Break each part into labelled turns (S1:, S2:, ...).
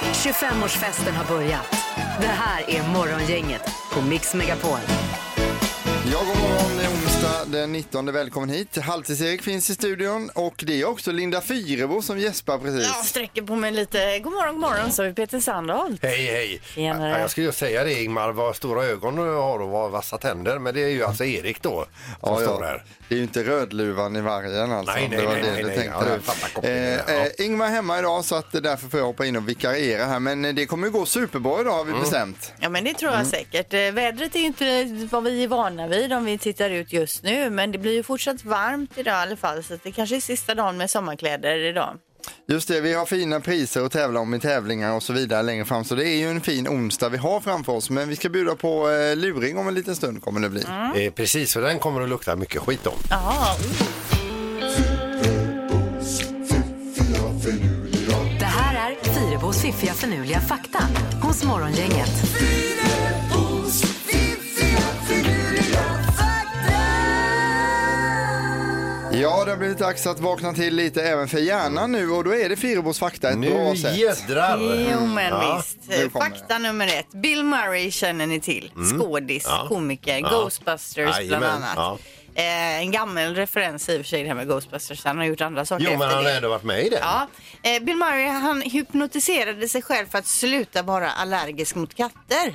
S1: 25-årsfesten har börjat. Det här är Morgongänget på Mix Megapol.
S2: Ja, god morgon. Det är onsdag den 19. Välkommen hit. Halvtids-Erik finns i studion och det är också Linda Fyrebo som gäspar
S3: Jag
S2: precis.
S3: sträcker på mig lite. God morgon, god morgon, så är vi Peter Sandholt.
S4: Hej, hej!
S3: Tjenare.
S4: Ja, jag skulle ju säga det Ingmar, vad stora ögon du har och vad vassa tänder. Men det är ju alltså Erik då som står här.
S2: Det är ju inte Rödluvan i vargen alltså.
S4: Nej, nej,
S2: det var
S4: nej,
S2: det
S4: nej,
S2: du
S4: nej.
S2: tänkte
S4: Ja,
S2: du.
S4: jag fattar kopplingen,
S2: Eh,
S4: ja.
S2: eh, Ingmar är hemma idag så att eh, därför får jag hoppa in och vikariera här. Men eh, det kommer ju gå superbra idag har
S4: Mm.
S2: vi bestämt.
S3: Ja, men det tror jag säkert. Eh, Vädret är ju inte vad vi är vana vid om vi tittar ut just nu, men det blir ju fortsatt varmt idag i alla fall, så att det kanske är sista dagen med sommarkläder idag.
S2: Just det, vi har fina priser att tävla om i tävlingar och så vidare längre fram. Så det är ju en fin onsdag vi har framför oss. Men vi ska bjuda på eh, luring om en liten stund kommer det bli.
S4: Eh, precis, och den kommer att lukta mycket skit om.
S3: Mm. Ja,
S1: Det här är Fyrebos fiffiga förnuliga fakta hos Morgongänget.
S2: Ja, det har blivit dags att vakna till lite även för hjärnan nu och då är det Fyrebos fakta ett bra
S4: Nu
S2: sätt.
S4: jädrar!
S3: jo men
S4: Ja.
S3: visst. Eh,
S2: nu kommer
S3: Fakta nummer ett. Bill Murray känner ni till. Skådis,
S4: Mm. Ja.
S3: komiker,
S4: Ja.
S3: Ghostbusters bland
S4: Jajamän,
S3: annat.
S4: ja.
S3: Eh, en gammal referens i och för sig det här med Ghostbusters. Han har gjort andra saker
S4: Jo, men
S3: efter
S4: han
S3: det.
S4: har ändå varit med i den.
S3: Ja, eh, Bill Murray han hypnotiserade sig själv för att sluta vara allergisk mot katter.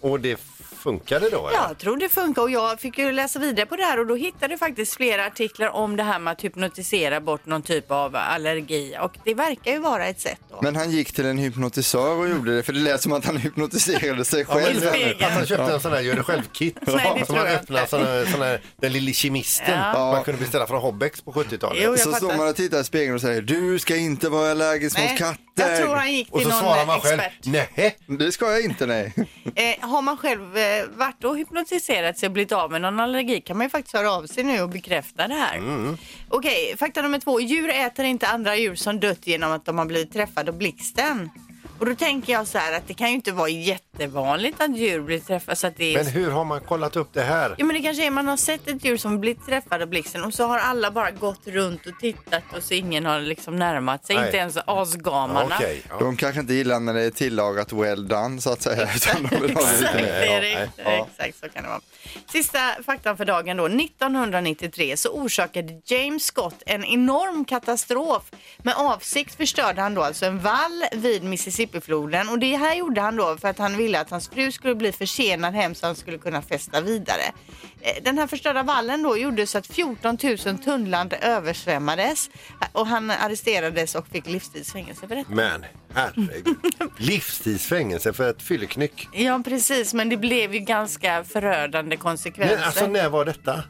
S4: Och det funkade då? eller?
S3: Jag tror det funkar och jag fick ju läsa vidare på det här och då hittade jag faktiskt flera artiklar om det här med att hypnotisera bort någon typ av allergi och det verkar ju vara ett sätt då.
S2: Men han gick till en hypnotisör och gjorde det för det lät som att han hypnotiserade sig
S4: Ja, men
S2: själv.
S4: det-
S3: spegeln.
S4: att han köpte en sån där gör det själv-kit
S3: Nej, det
S4: som
S3: tror
S4: man
S3: jag
S4: öppnar,
S3: inte.
S4: sån här, sån här, den lille kemisten
S2: Ja.
S4: man kunde beställa från Hobbex på 70-talet.
S3: Jo, jag
S2: så står
S3: fattar.
S2: man och tittar i spegeln och säger du ska inte vara allergisk
S3: Nej,
S2: mot katter.
S3: Jag tror han gick
S4: Och
S3: till
S4: så
S3: någon
S4: svarar man själv,
S3: expert.
S4: nej.
S2: Det ska jag inte nej.
S3: Eh, har man själv eh, varit och hypnotiserat sig och blivit av med någon allergi kan man ju faktiskt höra av sig nu och bekräfta det här.
S4: Mm.
S3: Okej, fakta nummer två. Djur äter inte andra djur som dött genom att de har blivit träffade av blixten. Och då tänker jag så här att det kan ju inte vara jättevanligt att djur blir träffade så att det är...
S4: Men hur har man kollat upp det här?
S3: Ja men det kanske är man har sett ett djur som blivit träffad av blixten och så har alla bara gått runt och tittat och så ingen har liksom närmat sig,
S4: Nej.
S3: inte ens asgamarna.
S4: Okej, ja.
S2: De kanske inte gillar när det är tillagat well done så att säga. Utan de vill ha det lite mer.
S3: det är
S4: Ja,
S3: det.
S4: nej.
S2: Ja.
S3: Exakt så kan det vara. Sista faktan för dagen då. 1993 så orsakade James Scott en enorm katastrof. Med avsikt förstörde han då alltså en vall vid Mississippifloden och det här gjorde han då för att han ville att hans fru skulle bli försenad hem så han skulle kunna festa vidare. Eh, Den här förstörda vallen då gjorde så att 14 000 tunnland översvämmades och han arresterades och fick livstidsfängelse för detta.
S4: Men herregud, livstidsfängelse för ett fylleknyck.
S3: Ja precis, men det blev ju ganska förödande konsekvenser.
S4: Men alltså när var detta?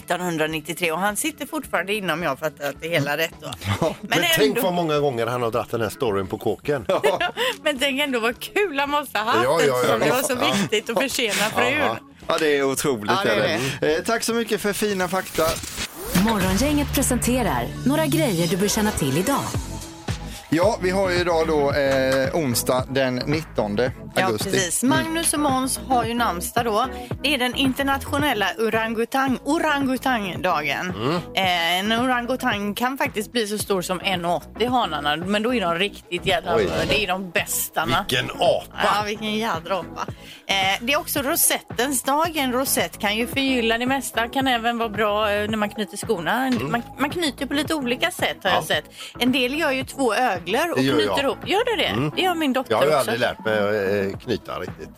S3: 1993 och han sitter fortfarande inne om jag fattar att det är hela rätt då.
S4: Mm. Men, tänk vad många gånger han har dratt den här storyn på kåken.
S3: men tänk ändå vad kul han måste ha haft
S4: Ja, ja, ja,
S3: eftersom det var
S4: visst.
S3: så
S4: Ja.
S3: viktigt att försena frun.
S2: Ja det är otroligt.
S3: Ja, det är
S2: eller? Eh, tack så mycket för fina fakta.
S1: Morgongänget presenterar några grejer du bör känna till idag.
S2: Ja vi har ju idag då eh, onsdag den 19
S3: Ja,
S2: augusti.
S3: precis.
S4: Mm.
S3: Magnus och Måns har ju namnsdag då. Det är den internationella orangutang, orangutangdagen.
S4: Mm.
S3: Eh, en orangutang kan faktiskt bli så stor som 1,80 hanarna, men då är de riktigt jävla...
S4: Oj.
S3: Det är de bästa. va?
S4: Vilken apa!
S3: Ja, vilken jädra apa. Eh, det är också rosettens dag. En rosett kan ju förgylla det mesta. Kan även vara bra eh, när man knyter skorna. Man, man knyter på lite olika sätt har
S4: Mm. Ja.
S3: jag sett. En del gör ju två öglor och
S4: Det gör
S3: knyter
S4: jag. Mm.
S3: ihop. Gör du det? Det gör min dotter
S4: Jag har ju
S3: också.
S4: aldrig lärt mig att eh, knyta riktigt.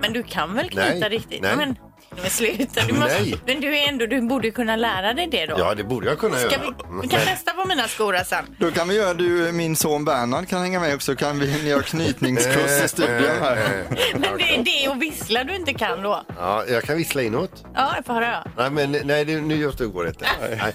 S3: Men du kan väl knyta
S4: Nej,
S3: riktigt?
S4: nej.
S3: Men, men sluta. Du måste,
S4: Nej.
S3: Men du, är ändå, du borde kunna lära dig det då.
S4: Ja, det borde jag kunna
S3: Ska
S4: göra. Mm.
S3: vi, vi
S4: Men-
S3: kan testa på mina skor här sen.
S2: Då kan vi göra du, min son Bernhard kan hänga med också. Kan vi göra
S4: eh,
S2: knytningskurs i studion här.
S3: Men det är det och vissla du inte kan då.
S4: Ja, jag kan vissla inåt.
S3: Ja, jag får höra.
S4: Nej, men nej, det, nu just det går det inte. Nej.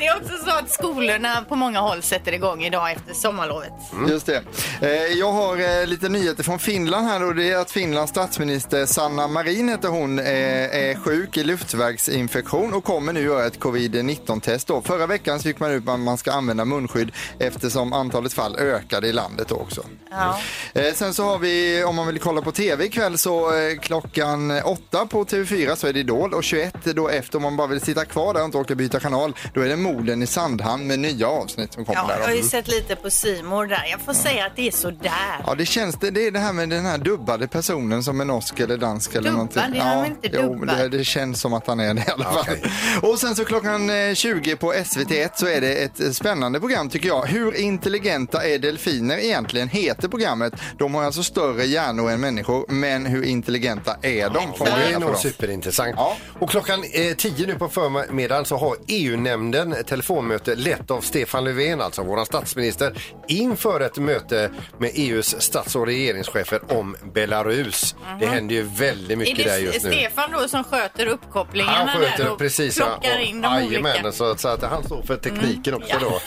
S3: Det är också så att skolorna på många håll sätter igång idag efter sommarlovet.
S2: Just det. Eh, Jag har eh, lite nyheter från Finland här och det är att Finlands statsminister Sanna Marin heter hon eh, är sjuk i luftvägsinfektion och kommer nu göra ett covid-19 test då. Förra veckan så gick man ut med att man ska använda munskydd eftersom antalet fall ökade i landet då också.
S3: Ja.
S2: Eh, Sen så har vi, om man vill kolla på tv ikväll så eh, klockan åtta på TV4 så är det Idol och 21 då efter om man bara vill sitta kvar där och inte orkar byta kanal 19.00. Då är det morden i Sandhamn med nya avsnitt som kommer
S3: Ja, jag
S2: där.
S3: har ju sett lite på Simor där. Jag får säga att det är sådär.
S2: Ja, det känns det. Det är det här med den här dubbade personen som är norsk eller dansk eller
S3: Dubbad?
S2: någonting.
S3: Är
S2: ja,
S3: han inte
S2: jo,
S3: dubbad?
S2: det, det känns som att han är det i alla fall.
S4: Okej.
S2: Och sen så klockan eh, 20 på SVT1 så är det ett eh, spännande program tycker jag. Hur intelligenta är delfiner egentligen heter programmet. De har alltså större hjärnor än människor, men hur intelligenta är de? Får
S4: Det
S2: man
S4: är
S2: reda på
S4: nog
S2: dem.
S4: superintressant.
S2: Ja.
S4: Och klockan eh, 10 nu på förmiddagen så har EU-nämnden ett telefonmöte lett av Stefan Löfven, alltså vår statsminister, inför ett möte med EUs stats och regeringschefer om Belarus. Det händer ju väldigt
S3: Mhm. Är
S4: mycket
S3: det
S4: där just nu.
S3: Stefan då som sköter uppkopplingarna
S4: Han sköter
S3: där
S4: det
S3: och
S4: precis.
S3: plockar
S4: ja.
S3: in de olika? Mm.
S4: Jajamän, alltså. så, så att han står för tekniken också då.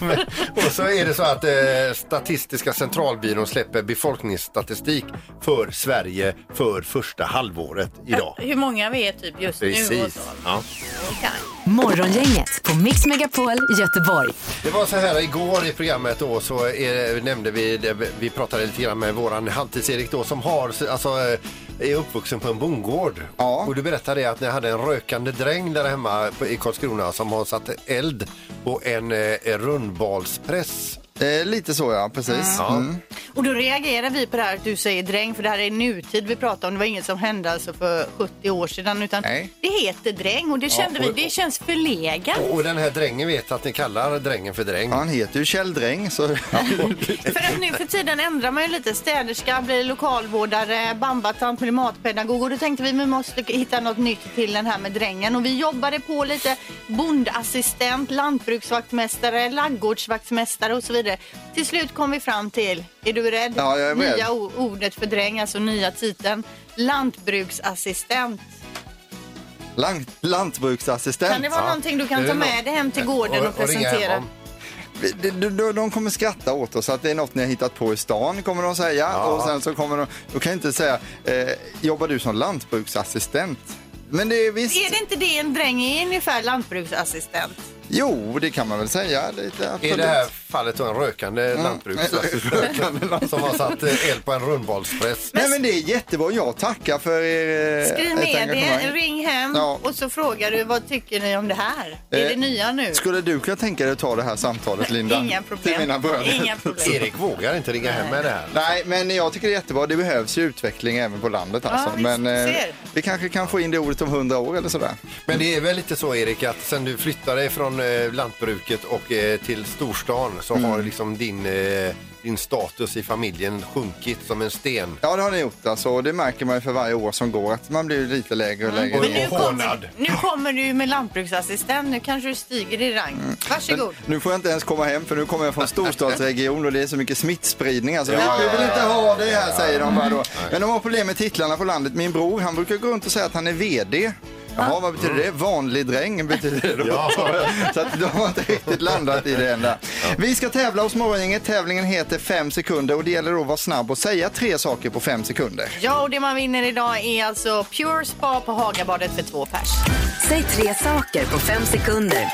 S4: Men- och så är det så att eh, Statistiska centralbyrån släpper befolkningsstatistik för Sverige för första halvåret idag.
S3: Hur många vi är typ just nu och så.
S4: Precis. Ja.
S1: Morgongänget på Mix Megapol Göteborg.
S4: Det var så här igår i programmet då så är, nämnde vi, det- vi pratade lite grann med våran halvtids-Erik då som har, alltså eh, är uppvuxen på en bondgård.
S2: Ja.
S4: Och du berättade att ni hade en rökande dräng där hemma på, i Karlskrona som har satt eld på en, eh, en rundbalspress.
S2: Eh, lite så ja, precis.
S4: Ja.
S2: Mm.
S3: Och då reagerar vi på det här att du säger dräng för det här är nutid vi pratar om. Det var inget som hände alltså för 70 år sedan utan
S2: Nej.
S3: det heter dräng och det kände
S4: och-
S3: vi, det känns förlegat.
S4: Och, och den här drängen vet att ni kallar drängen för dräng.
S2: Ja, han heter ju Kjell Dräng så
S3: För att nu för tiden ändrar man ju lite. Städerska blir lokalvårdare, bambatant blir matpedagog. Och då tänkte vi vi måste hitta något nytt till den här med drängen. Och vi jobbade på lite bondassistent, lantbruksvaktmästare, laggårdsvaktmästare och så vidare. Till slut kom vi fram till, är du rädd?
S2: Ja, jag är beredd.
S3: Nya o- ordet för dräng, alltså nya titeln. Lantbruksassistent.
S2: Lant, lantbruksassistent.
S3: Kan det vara någonting du
S4: Det
S3: kan
S4: är
S3: ta
S4: något.
S3: med dig hem till gården och,
S4: ringa hem
S3: presentera?
S4: om.
S2: De, de, de kommer skratta åt oss att det är något ni har hittat på i stan kommer de säga. Och sen så kommer de, då kan jag inte säga, eh, jobbar du som lantbruksassistent? Men det är visst,
S3: Är det inte det en dräng är ungefär lantbruksassistent?
S2: jo det kan man väl säga lite.
S4: Är
S2: absolut.
S4: det här fallet då en rökande lantbruksassistent som har satt eh, eld på en rundbalspress?
S2: Nej men det är jättebra, jag tackar för er eh,
S3: Skriv
S2: ert
S3: med det,
S2: engagemang.
S3: ring hem
S2: Ja.
S3: och så frågar du vad tycker ni om det här? är
S2: Eh,
S3: det nya nu?
S2: Skulle du kunna tänka dig att ta det här samtalet Linda?
S3: Inga
S2: Till
S3: problem.
S2: mina bröder.
S3: Inga problem.
S4: Erik vågar inte ringa hem med det här.
S2: Nej, men jag tycker det är jättebra. Det behövs ju utveckling även på landet alltså.
S3: visst,
S2: men
S3: ser.
S2: vi kanske kan få in det ordet om hundra år eller sådär.
S4: Men det är väl lite så Erik att sen du flyttade från eh, lantbruket och eh, till storstan så har liksom din, eh, din status i familjen sjunkit som en sten.
S2: Ja, det har ni gjort. Alltså, och det märker man ju för varje år som går att man blir lite lägre och lägre.
S4: Mm. Och-
S3: Men nu,
S4: och hånad.
S3: kommer, nu kommer du med lantbruksassistent, nu kanske du stiger i rang.
S2: Mm.
S3: Varsågod.
S2: Nu får jag inte ens komma hem för nu kommer jag från storstadsregion och det är så mycket smittspridning. Alltså,
S4: Ja,
S2: vi, vi
S4: ja,
S2: vill inte
S4: ja,
S2: ha det här säger de bara då. Men de har problem med titlarna på landet. Min bror han brukar gå runt och säga att han är VD. Jaha, vad betyder
S4: Mm.
S2: det? Vanlig dräng betyder det då. Så att de har inte riktigt landat i det än där. Vi ska tävla hos Morgongänget. Tävlingen heter 5 sekunder och det gäller då att vara snabb och säga tre saker på 5 sekunder.
S3: Ja, och det man vinner idag är alltså Pure Spa på Hagabadet för två pers.
S1: Säg tre saker på fem sekunder.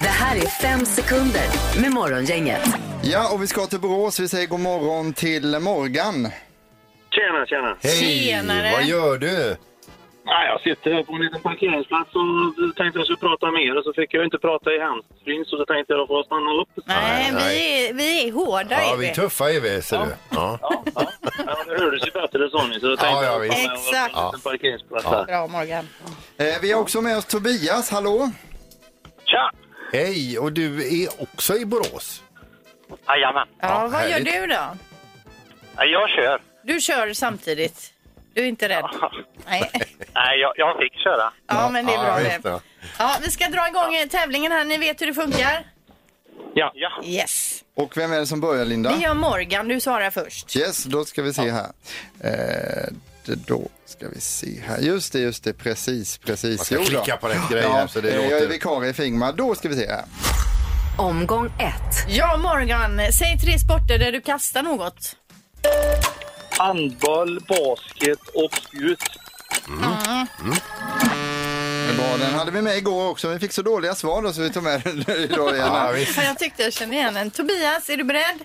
S1: Det här är fem sekunder med Morgongänget.
S2: Ja, och vi ska till Borås. Vi säger god morgon till Morgan.
S5: Tjena, tjena.
S3: Tjenare.
S4: Vad gör du?
S5: Nej, jag sitter här på en liten parkeringsplats och tänkte jag skulle prata med er och så fick jag inte prata i handsfree så då tänkte jag att jag får stanna upp.
S3: Nej, vi
S4: nej.
S3: är, vi är hårda.
S4: Ja,
S3: är
S4: vi är tuffa är vi ser du. Ja.
S5: Ja, ja. ja det hördes ju bättre sa ni så då
S4: Ja, ja,
S5: tänkte jag att
S4: visst.
S5: jag var på en
S3: Exakt.
S5: liten parkeringsplats här.
S3: Bra Morgan.
S2: Eh, vi har också med oss Tobias. Hallå!
S5: Tja!
S4: Hej, och du är också i Borås?
S5: Jajamän.
S3: Ja,
S4: Ja,
S3: vad
S4: härligt.
S3: gör du då?
S5: Ja, Jag kör.
S3: Du kör samtidigt. Du är inte rädd? Nej.
S5: Nej, jag, jag fick köra.
S3: Ja, men det är bra
S4: Ja,
S3: det.
S4: just det.
S3: Ja, vi ska dra igång eh, tävlingen här. Ni vet hur det funkar?
S5: Ja. ja.
S3: Yes.
S2: Och vem är det som börjar, Linda?
S3: Det gör Morgan. Du svarar först.
S2: Yes, då ska vi se här. Eh, det- då ska vi se här. Just det, just det, precis, precis.
S4: Man ska
S2: Jo då.
S4: klicka på rätt grej
S2: Ja,
S4: här så det
S2: eh, jag är
S4: låter...
S2: vikarie i Fingma. Då ska vi se här.
S1: Omgång ett.
S3: Ja, Morgan. Säg tre sporter där du kastar något.
S5: Handboll, basket och spjut.
S2: Den var- Den hade vi med igår också, men vi fick så dåliga svar då så vi tog med den idag igen.
S4: Ja,
S2: här.
S4: visst.
S3: Ja, Jag tyckte jag kände igen en. Tobias, är du beredd?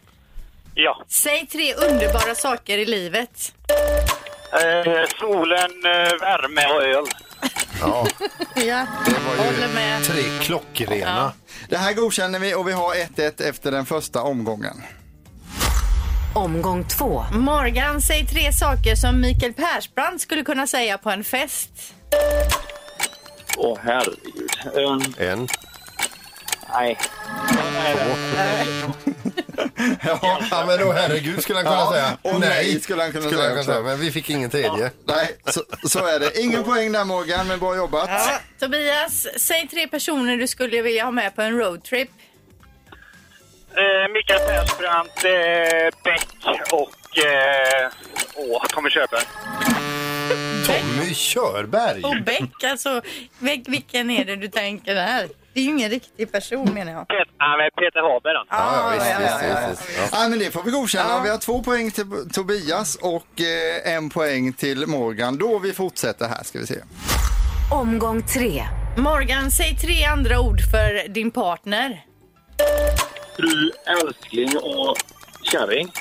S5: Ja.
S3: Säg tre underbara saker i livet.
S5: Eh, solen, eh, värme och öl.
S4: Ja,
S3: Ja,
S4: det var ju
S3: håller med.
S4: tre klockrena.
S2: Det här godkänner vi och vi har 1-1 efter den första omgången.
S1: Omgång två.
S3: Morgan, säg tre saker som Mikael Persbrandt skulle kunna säga på en fest.
S5: Åh, herregud. Um,
S4: En.
S5: nej.
S2: Ja.
S4: Ja, men då herregud skulle han kunna
S2: Ja,
S4: säga.
S2: och nej skulle han kunna
S4: skulle
S2: säga
S4: han
S2: också.
S4: Men vi fick ingen tredje.
S2: Nej, så, så är det. Ingen poäng där Morgan, men bra jobbat.
S3: Tobias, säg tre personer du skulle vilja ha med på en roadtrip.
S5: Eh, Mikael Persbrandt, eh, Beck och... Eh, åh, Tommy Körberg.
S4: Tommy Körberg.
S2: Oh,
S3: Och Beck, alltså, vil- vilken är det du tänker där? Det är ju ingen riktig person menar jag.
S5: Pet, nej, men Peter Haber. Då.
S4: Ja, ja, visst,
S3: ja,
S4: visst, visst, visst. Ja.
S2: Ja, men det får vi godkänna. Vi har två poäng till Tobias och eh, en poäng till Morgan. Då vi fortsätter här ska vi se.
S1: Omgång tre.
S3: Morgan, säg tre andra ord för din partner.
S5: Fru, älskling och kärring.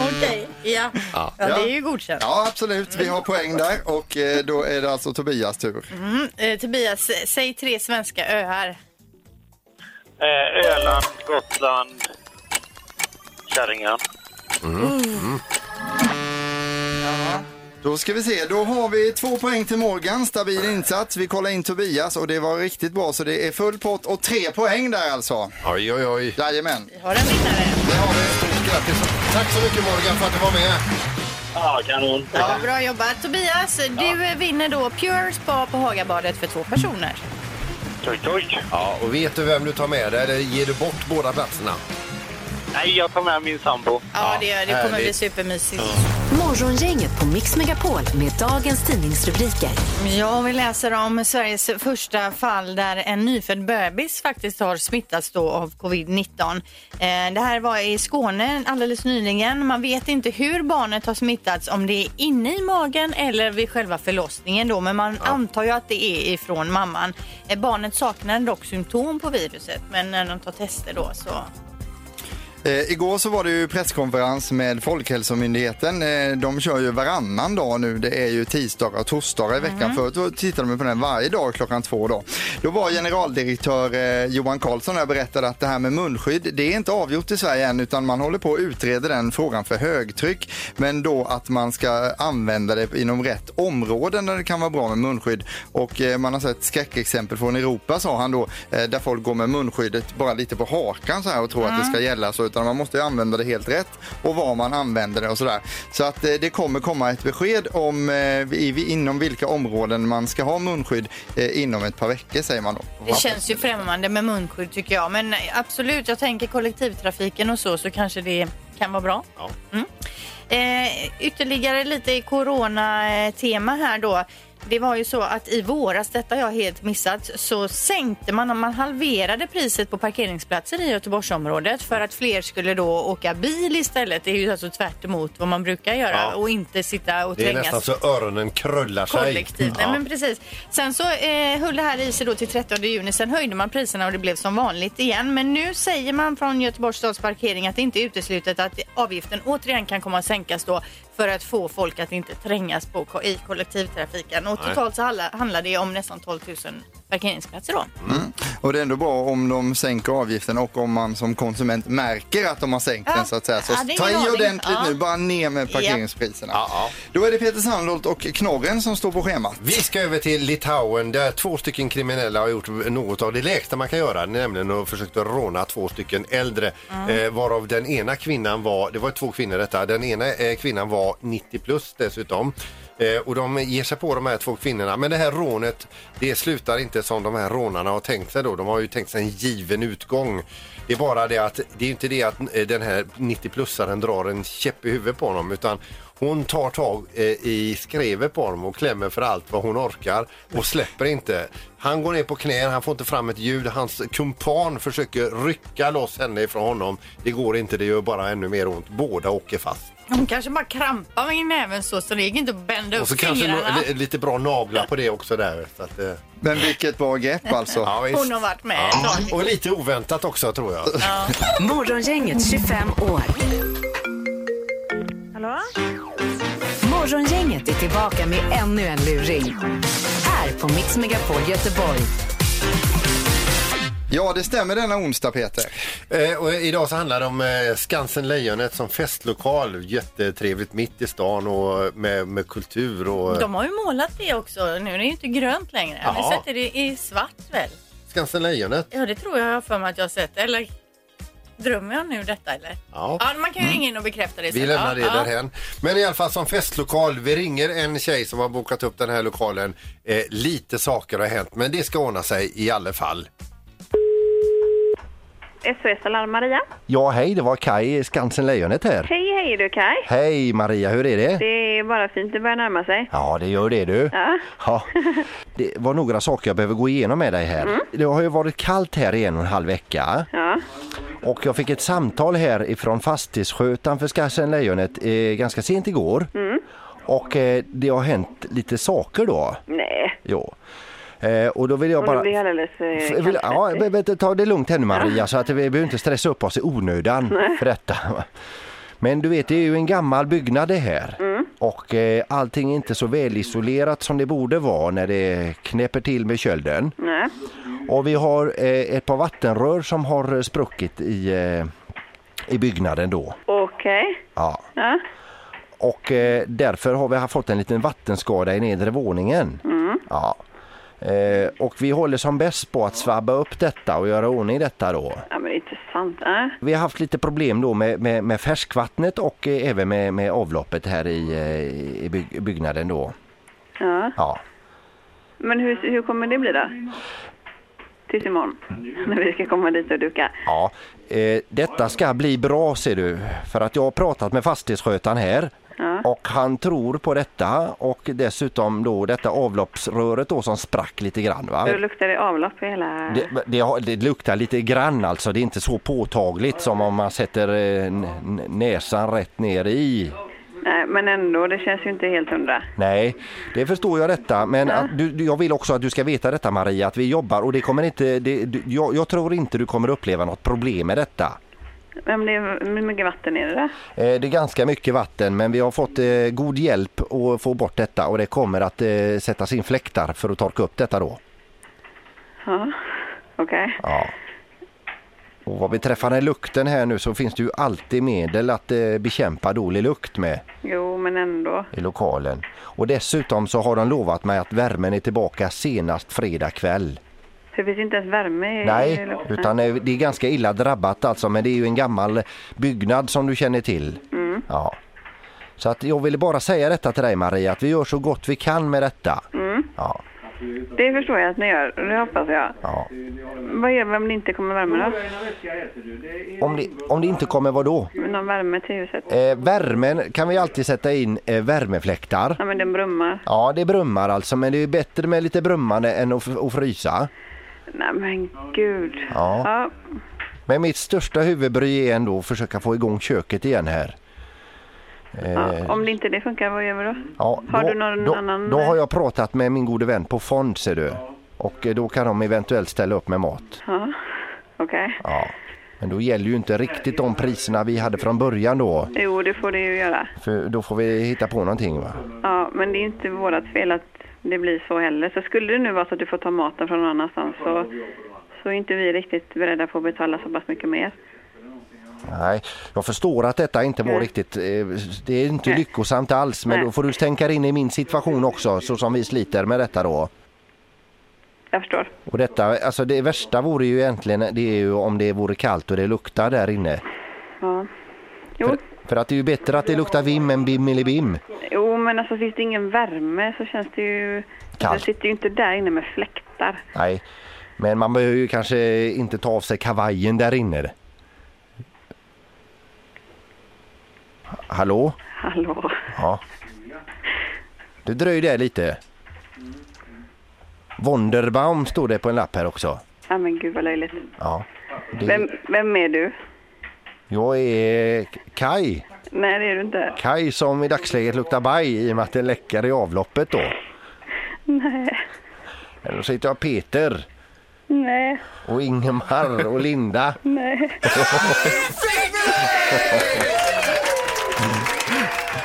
S3: Okej, ja. ja. Det är ju godkänt.
S2: Ja, absolut. Vi har poäng där och eh, då är det alltså Tobias tur.
S3: Eh, Tobias, säg tre svenska öar.
S5: Eh, Öland, Gotland, Kärringen.
S2: Då ska vi se. Då har vi två poäng till Morgan. Stabil insats. Vi kollar in Tobias och det var riktigt bra så det är full pott och tre poäng där alltså.
S4: Oj, oj, oj.
S2: Jajamän.
S3: Har en vinnare.
S2: Det har vi.
S4: Stort grattis. Tack så mycket Morgan för att du var med.
S5: Ja, kanon.
S3: Ja, bra jobbat. Tobias, du eh, vinner då Pure Spa på Hagabadet för två personer.
S5: Toj, toj.
S4: Ja, och vet du vem du tar med dig eller ger du bort båda platserna?
S5: Nej, jag tar med min sambo.
S3: Ja, det, det kommer bli
S4: härligt.
S3: supermysigt.
S1: Morgongänget på Mix Megapol med dagens tidningsrubriker.
S3: Ja, vi läser om Sveriges första fall där en nyfödd bebis faktiskt har smittats då av covid-19. Eh, Det här var i Skåne alldeles nyligen. Man vet inte hur barnet har smittats, om det är inne i magen eller vid själva förlossningen då, men man antar ju att det är ifrån mamman. Eh, Barnet saknar dock symptom på viruset, men när de tar tester då så...
S2: Eh, igår så var det ju presskonferens med Folkhälsomyndigheten. Eh, de kör ju varannan dag nu. Det är ju tisdagar och torsdagar i veckan. Förut då tittade de på den varje dag klockan två. Då, då var generaldirektör eh, Johan Karlsson där och berättade att det här med munskydd, det är inte avgjort i Sverige än utan man håller på att utreda den frågan för högtryck. Men då att man ska använda det inom rätt områden där det kan vara bra med munskydd. Och eh, man har sett skräckexempel från Europa sa han då, eh, där folk går med munskyddet bara lite på hakan så här och tror att det ska gälla så, utan man måste ju använda det helt rätt och var man använder det och sådär. Så att eh, det kommer komma ett besked om eh, i, vi- inom vilka områden man ska ha munskydd eh, inom ett par veckor säger man då.
S3: Det känns ju främmande med munskydd tycker jag, men absolut, jag tänker kollektivtrafiken och så, så kanske det kan vara bra.
S4: Ja.
S3: Mm. Eh, ytterligare lite i corona-tema här då. Det var ju så att i våras, detta har jag helt missat, så sänkte man, man halverade priset på parkeringsplatser i Göteborgsområdet för att fler skulle då åka bil istället. Det är ju alltså tvärt emot vad man brukar göra
S4: Ja.
S3: och inte sitta och
S4: Det är
S3: trängas
S4: nästan så öronen krullar sig.
S3: kollektivt. Nej, men precis. Sen så eh, höll det här i sig då till 13 juni. Sen höjde man priserna och det blev som vanligt igen. Men nu säger man från Göteborgs stads parkering att det inte är uteslutet att avgiften återigen kan komma att sänkas då för att få folk att inte trängas på, ko- i kollektivtrafiken. Och totalt så handla- handlar det om nästan 12 000 parkeringsplatser då.
S2: Och det är ändå bra om de sänker avgiften och om man som konsument märker att de har sänkt
S3: Ja.
S2: den så att säga. Så
S3: Ja, det är
S2: ta i
S3: ingen aning.
S2: ordentligt
S3: Ja.
S2: nu, bara ner med parkeringspriserna.
S4: Ja, ja.
S2: Då är det Peter Sandholt och Knorren som står på schemat.
S4: Vi ska över till Litauen där två stycken kriminella har gjort något av det lägsta man kan göra, nämligen att försökt råna två stycken äldre. Eh, varav den ena kvinnan var, det var två kvinnor detta, den ena eh, kvinnan var 90 plus dessutom. Eh, och de ger sig på de här två kvinnorna. Men det här rånet, det slutar inte som de här rånarna har tänkt sig då. De har ju tänkt sig en given utgång. Det är bara det att, det är inte det att eh, den här 90-plussaren drar en käpp i huvudet på honom utan hon tar tag eh, i skrevet på honom och klämmer för allt vad hon orkar och släpper inte. Han går ner på knä, han får inte fram ett ljud. Hans kumpan försöker rycka loss henne ifrån honom. Det går inte, det gör bara ännu mer ont. Båda åker fast.
S3: De kanske bara krampar med näven så, så det gick inte att bända
S4: Och
S3: upp
S4: så kanske
S3: fingrarna.
S4: nå- li- lite bra naglar på det också där. Så att, eh,
S2: Men vilket bra grepp alltså.
S4: ja, visst.
S3: Hon har varit med ett
S4: Ja.
S3: tag.
S4: Och lite oväntat också tror jag.
S1: Morgongänget 25 år.
S6: Hallå?
S1: Morgongänget är tillbaka med ännu en luring. Här på Mix Megapol Göteborg.
S2: Ja, det stämmer denna onsdag Peter.
S4: Eh, och idag så handlar det om eh, Skansen Lejonet som festlokal. Jättetrevligt mitt i stan och med, med kultur och...
S3: De har ju målat det också. Nu är det ju inte grönt längre. Har
S4: Ja.
S3: ni sett det? det i svart väl?
S4: Skansen Lejonet.
S3: Ja, det tror jag jag har för mig att jag har sett. Eller drömmer jag nu detta eller?
S4: Ja. Mm.
S3: man kan ju ringa in och bekräfta det
S4: Vi
S3: sen.
S4: lämnar det
S3: ja, ja.
S4: därhän. Men i alla fall som festlokal, vi ringer en tjej som har bokat upp den här lokalen. Eh, lite saker har hänt, men det ska ordna sig i alla fall.
S6: SOS Alarm Maria.
S4: Ja, hej, det var Kai Skansen Lejonet här.
S6: Hej, hej du Kaj.
S4: Hej Maria, hur är det?
S6: Det är bara fint, det börjar närma sig.
S4: Ja, det gör det du.
S6: Ja.
S4: Ja. Det var några saker jag behöver gå igenom med dig här. Det har ju varit kallt här i en och en halv vecka.
S6: Mm. Ja.
S4: Och jag fick ett samtal här ifrån fastighetsskötaren för Skansen Lejonet eh, ganska sent igår.
S6: Mm.
S4: Och eh, det har hänt lite saker då.
S6: Nej,
S4: Jo. Eh, och då vill jag
S6: och nu
S4: bara...
S6: blir jag alldeles... eh,
S4: F- vill, ja,
S6: kallsvettig.
S4: men- men ta det lugnt här nu Maria så att vi behöver inte stressa upp oss i onödan för detta. Men du vet, det är ju en gammal byggnad det här och eh, allting är inte så välisolerat som det borde vara när det knäpper till med kölden.
S6: Nej.
S4: Och vi har eh, ett par vattenrör som har eh, spruckit i, eh, i byggnaden då.
S6: Okej.
S4: Ja.
S6: Ja.
S4: Och eh, därför har vi haft fått en liten vattenskada i nedre våningen. Ja. Eh, och vi håller som bäst på att svabba upp detta och göra ordning detta då.
S6: ja, men det är inte sant. Ja.
S4: Vi har haft lite problem då med, med, med färskvattnet och eh, även med, med avloppet här i, eh, i byg- byggnaden då.
S6: Ja.
S4: Ja.
S6: Men hur, hur kommer det bli då? Tills imorgon, när vi ska komma dit och duka.
S4: Ja, eh, detta ska bli bra ser du. För att jag har pratat med fastighetsskötaren här och han tror på detta och dessutom då detta avloppsröret då som sprack lite grann va.
S6: Då luktar det avlopp i hela...
S4: Det, det, har- det luktar lite grann alltså, det är inte så påtagligt som om man sätter eh, n- n- näsan rätt ner i.
S6: Nej, men ändå, det känns ju inte helt hundra.
S4: Nej, det förstår jag detta. Men att du, du- jag vill också att du ska veta detta Maria, att vi jobbar och det kommer inte, det, du, jag, jag tror inte du kommer uppleva något problem med detta.
S6: Men det, är- hur mycket vatten är det då?
S4: Eh, Det är ganska mycket vatten men vi har fått eh, god hjälp att få bort detta och det kommer att eh, sättas in fläktar för att torka upp detta då.
S6: Ja. Okej.
S4: Ja. Och vad beträffar lukten här nu så finns det ju alltid medel att eh, bekämpa dålig lukt med
S6: Jo, men ändå.
S4: i lokalen. Och dessutom så har de lovat mig att värmen är tillbaka senast fredag kväll.
S6: Det finns inte ens värme i i
S4: Nej,
S6: luften.
S4: utan eh, det är ganska illa drabbat alltså men det är ju en gammal byggnad som du känner till. Ja. Så att jag ville bara säga detta till dig Maria, att vi gör så gott vi kan med detta. Ja,
S6: Det förstår jag att ni gör, det hoppas jag.
S4: ja.
S6: Vad gör vi om det inte kommer värme då?
S4: Om, det, om det inte kommer vad då?
S6: Någon värme till huset?
S4: Eh, värmen kan vi alltid sätta in eh, värmefläktar.
S6: Ja men den brummar.
S4: Ja, det brummar alltså, men det är bättre med lite brummande än att, f- att frysa.
S6: Nej men gud.
S4: Ja.
S6: ja.
S4: Men mitt största huvudbry är ändå att försöka få igång köket igen här.
S6: ja. Om det inte det funkar, vad gör vi då?
S4: Ja,
S6: Har du någon
S4: då,
S6: annan- eh,
S4: Då har jag pratat med min gode vän på Fond, ser du. Och eh, då kan de eventuellt ställa upp med mat.
S6: Ja. Okej.
S4: Ja. Men då gäller ju inte riktigt de priserna vi hade från början då.
S6: Jo, det får det ju göra.
S4: För då får vi hitta på någonting va?
S6: Ja, men det är ju inte vårt fel att det blir så heller. Så skulle det nu vara så att du får ta maten från någon annanstans så, så är inte vi riktigt beredda på att betala så pass mycket mer.
S4: Nej, jag förstår att detta inte var riktigt, eh, det är inte
S6: Mm. Nej.
S4: lyckosamt alls men
S6: Nej.
S4: då får du tänka dig in i min situation också så som vi sliter med detta då.
S6: Jag förstår.
S4: Och detta, alltså det värsta vore ju egentligen det är ju om det vore kallt och det luktar där inne.
S6: Ja. Jo.
S4: För, för att det är ju bättre att det luktar vim än bim eller bim.
S6: jo, men alltså finns det ingen värme så känns det ju...
S4: Kallt.
S6: Du sitter ju inte där inne med fläktar.
S4: Nej, men man behöver ju kanske inte ta av sig kavajen där inne. Hallå?
S6: Hallå.
S4: Ja. Du dröjde där lite. Wonderbaum stod det på en lapp här också.
S6: Ja, men gud vad löjligt.
S4: Ja.
S6: Vem,
S4: Det,
S6: vem är du?
S4: jag är Kai.
S6: Nej, det är du inte.
S4: Kai som i dagsläget luktar baj i och med att det läcker i avloppet då.
S6: Nej,
S4: Eller så heter jag Peter
S6: nej,
S4: och Ingemar och Linda.
S6: nej.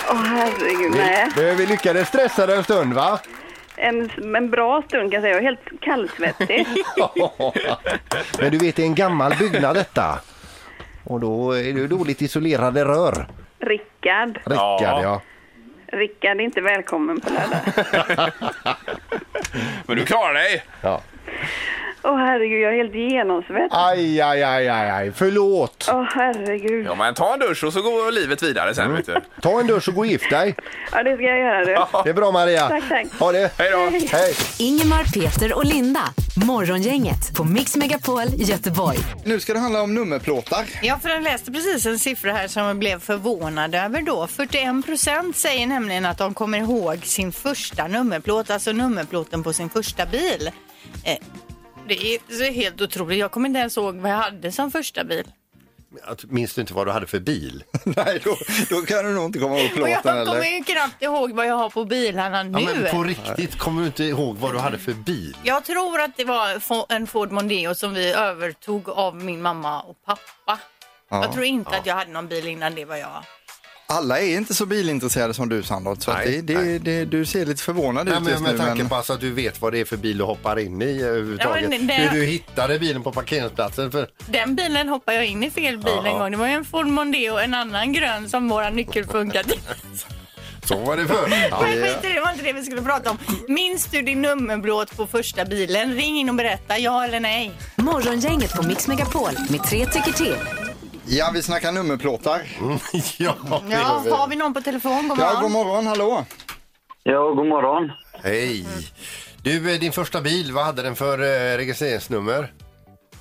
S6: Åh herregud, nej.
S7: Vi, Eh, vi lyckades stressa dig en stund va?
S6: En, en bra stund kan jag säga. Jag är helt kallsvettig.
S7: Men du vet det är en gammal byggnad detta. Och då är det ju dåligt isolerade rör.
S6: Rickard.
S7: Rickard ja.
S8: Ja.
S6: Rickard är inte välkommen på lördag.
S8: Men du klarar dig.
S6: Åh herregud, jag är helt genomsvett. Åh
S7: Aj, aj, aj, aj, aj. Förlåt.
S6: herregud.
S8: Ja, men ta en dusch och så går livet vidare sen. Vet du.
S7: Ta en dusch och gå och gift dig.
S6: Ja, det ska jag göra du.
S7: Det är bra Maria.
S6: Tack, tack.
S7: Ha det.
S8: Hej då.
S7: Hej.
S1: Ingemar, Peter och Linda. Morgongänget på Mix Megapol Göteborg.
S2: Nu ska det handla om nummerplåtar.
S3: Ja, för jag läste precis en siffra här som jag blev förvånad över då. 41 procent säger nämligen att de kommer ihåg sin första nummerplåt, alltså nummerplåten på sin första bil. Eh, det är så helt otroligt. Jag kommer inte ens ihåg vad jag hade som första bil.
S4: Att- Minns du inte vad du hade för bil?
S2: Nej, då, då kan du nog inte komma ihåg
S3: Och jag
S2: plåten
S3: kommer
S2: eller?
S3: ju knappt ihåg vad jag har på bilarna nu.
S4: Ja, men på riktigt, kommer du inte ihåg vad du hade för bil?
S3: Jag tror att det var fo- en Ford Mondeo som vi övertog av min mamma och pappa. Jag tror inte att jag hade någon bil innan det var jag.
S2: Alla är inte så bilintresserade som du Sandra, så att
S4: Nej,
S2: det, det, det, du ser lite förvånad
S4: Nej,
S2: ut
S4: men
S2: just nu.
S4: med tanke
S2: Men...
S4: på alltså att du vet vad det är för bil du hoppar in i eh, överhuvudtaget.
S3: Ja, men det-
S4: Hur du hittade bilen på parkeringsplatsen. För...
S3: Den bilen hoppade jag in i fel bil en gång. Det var ju en Ford Mondeo, en annan grön som våra nyckel funkade.
S4: Så var det förr.
S3: Men skit i det, det var inte det vi skulle prata om. Minns du din nummerplåt på första bilen? Ring in och berätta, ja eller nej.
S1: Morgongänget på Mix Megapol med tre tycker till.
S2: Ja, vi snackar nummerplåtar.
S4: ja, det
S3: Ja,
S4: gör vi.
S3: har vi någon på telefon? God
S2: Ja,
S3: morgon.
S2: god morgon, hallå.
S5: Ja, god morgon.
S4: Hej. Du, eh, din första bil, vad hade den för eh, registreringsnummer?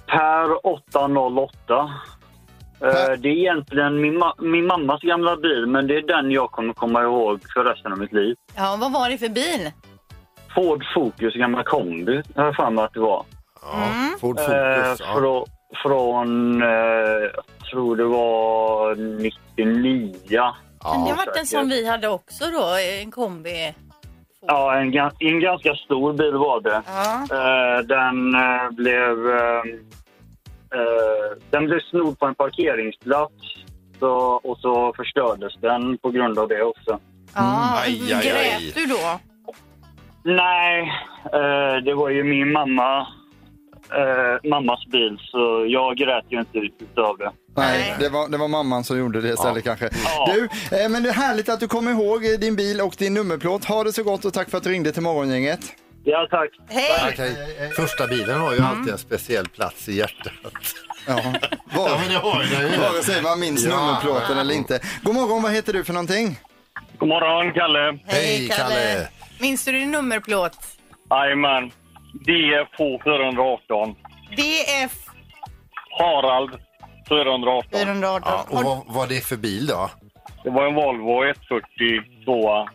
S5: Per 808. Eh, Det är egentligen min, ma- min mammas gamla bil, men det är den jag kommer komma ihåg för resten av mitt liv.
S3: ja, vad var det för bil?
S5: Ford Focus gamla kombi, har jag för mig att det var.
S4: Ja, Ford
S5: Eh,
S4: Focus. Ja.
S5: frå, från, eh, jag tror det var 99.
S3: Men det
S4: Ja. Mm.
S3: var inte en som vi hade också då, en kombi.
S5: Ja, en, ga- en ganska stor bil var det.
S3: Ja.
S5: Eh, den eh, blev... Eh, eh, den blev snodd på en parkeringsplats så, och så förstördes den på grund av det också.
S3: Ja,
S4: aj, aj, aj.
S3: grät du då?
S5: Nej, eh, det var ju min mamma, eh, mammas bil så jag grät ju inte utav det.
S2: Nej, det var, det var mamman som gjorde det istället kanske. Du, eh, men det är härligt att du kommer ihåg eh, din bil och din nummerplåt. Ha det så gott och tack för att du ringde till Morgongänget.
S5: Ja, tack.
S3: Hej!
S4: Tack, hej. Första bilen har ju alltid en speciell plats i hjärtat.
S2: Ja,
S4: Ja,
S2: var,
S4: men det har den ju.
S2: vare sig man minns
S4: Ja.
S2: nummerplåten eller inte. God morgon, vad heter du för någonting?
S5: God morgon, Kalle.
S4: Hej, Kalle.
S3: Minns du din nummerplåt?
S5: Jajamän. DFH 418.
S3: DF
S5: Harald 418.
S3: 418.
S4: Ja, och
S3: Har-
S4: vad var det för bil då?
S5: Det var en Volvo 142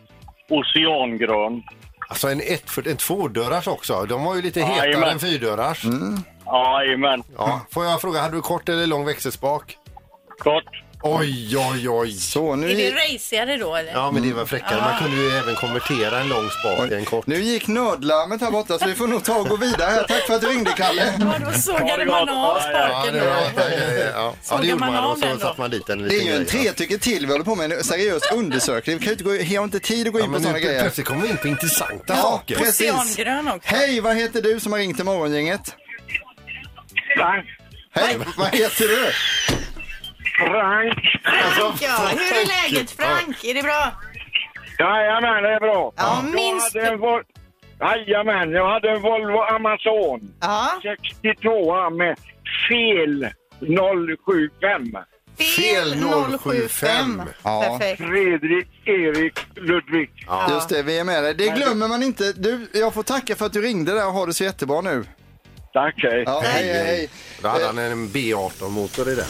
S5: oceangrön.
S4: Alltså en, ett, en tvådörrars också. De var ju lite
S5: Ja,
S4: hetare
S5: jajamän.
S4: än fyrdörrars.
S5: Jajamän.
S4: Ja. Får jag fråga, hade du kort eller lång växelspak?
S5: Kort.
S4: Oj, oj, oj.
S2: Så, nu,
S3: Är det
S2: gick,
S3: racigare då eller?
S4: Ja, men det var fräckare. Man kunde ju även konvertera en lång spak till en kort.
S2: nu gick nödlarmet här borta så vi får nog ta och gå vidare. här. Tack för att du ringde, Kalle.
S3: Ja, då sågade
S5: Ja,
S3: man
S5: det
S3: av
S5: var-
S4: Ja,
S3: sparken
S4: det, var,
S3: då.
S4: ja, ja. Ja,
S3: Sågar
S4: det gjorde
S3: man
S4: man
S3: av
S4: och så
S3: den då?
S4: satte man dit en liten
S2: Det är ju en
S4: grej, ja.
S2: tre tycker till vi håller på med en seriös undersökning. Vi kan ju inte gå, vi har inte tid att gå
S4: Ja,
S2: in på
S4: men nu
S2: sådana grejer.
S4: plötsligt kommer vi in på intressanta
S2: Ja,
S4: saker.
S2: precis.
S3: Oceangrön också.
S2: Hej, vad heter du som har ringt till Morgongänget?
S5: Frank.
S2: Hej, vad heter du?
S5: Frank.
S4: alltså,
S3: Frank ja, hur är läget Frank? Är det bra?
S5: Jajamän, det är bra.
S3: Ja, minst...
S5: Jag hade en Vol- Jajamän, jag hade en Volvo Amazon
S3: Ja,
S5: 62 med fel 075.
S3: fel
S4: 075.
S3: 075.
S2: Ja.
S3: Perfekt.
S5: Fredrik Erik Ludvig.
S2: Just det, vi är med dig. Det glömmer man inte. Du, jag får tacka för att du ringde där och har det så jättebra nu.
S5: Tack, hej.
S2: Ja, hej, hej. hej.
S4: Då hade han en B18-motor i den.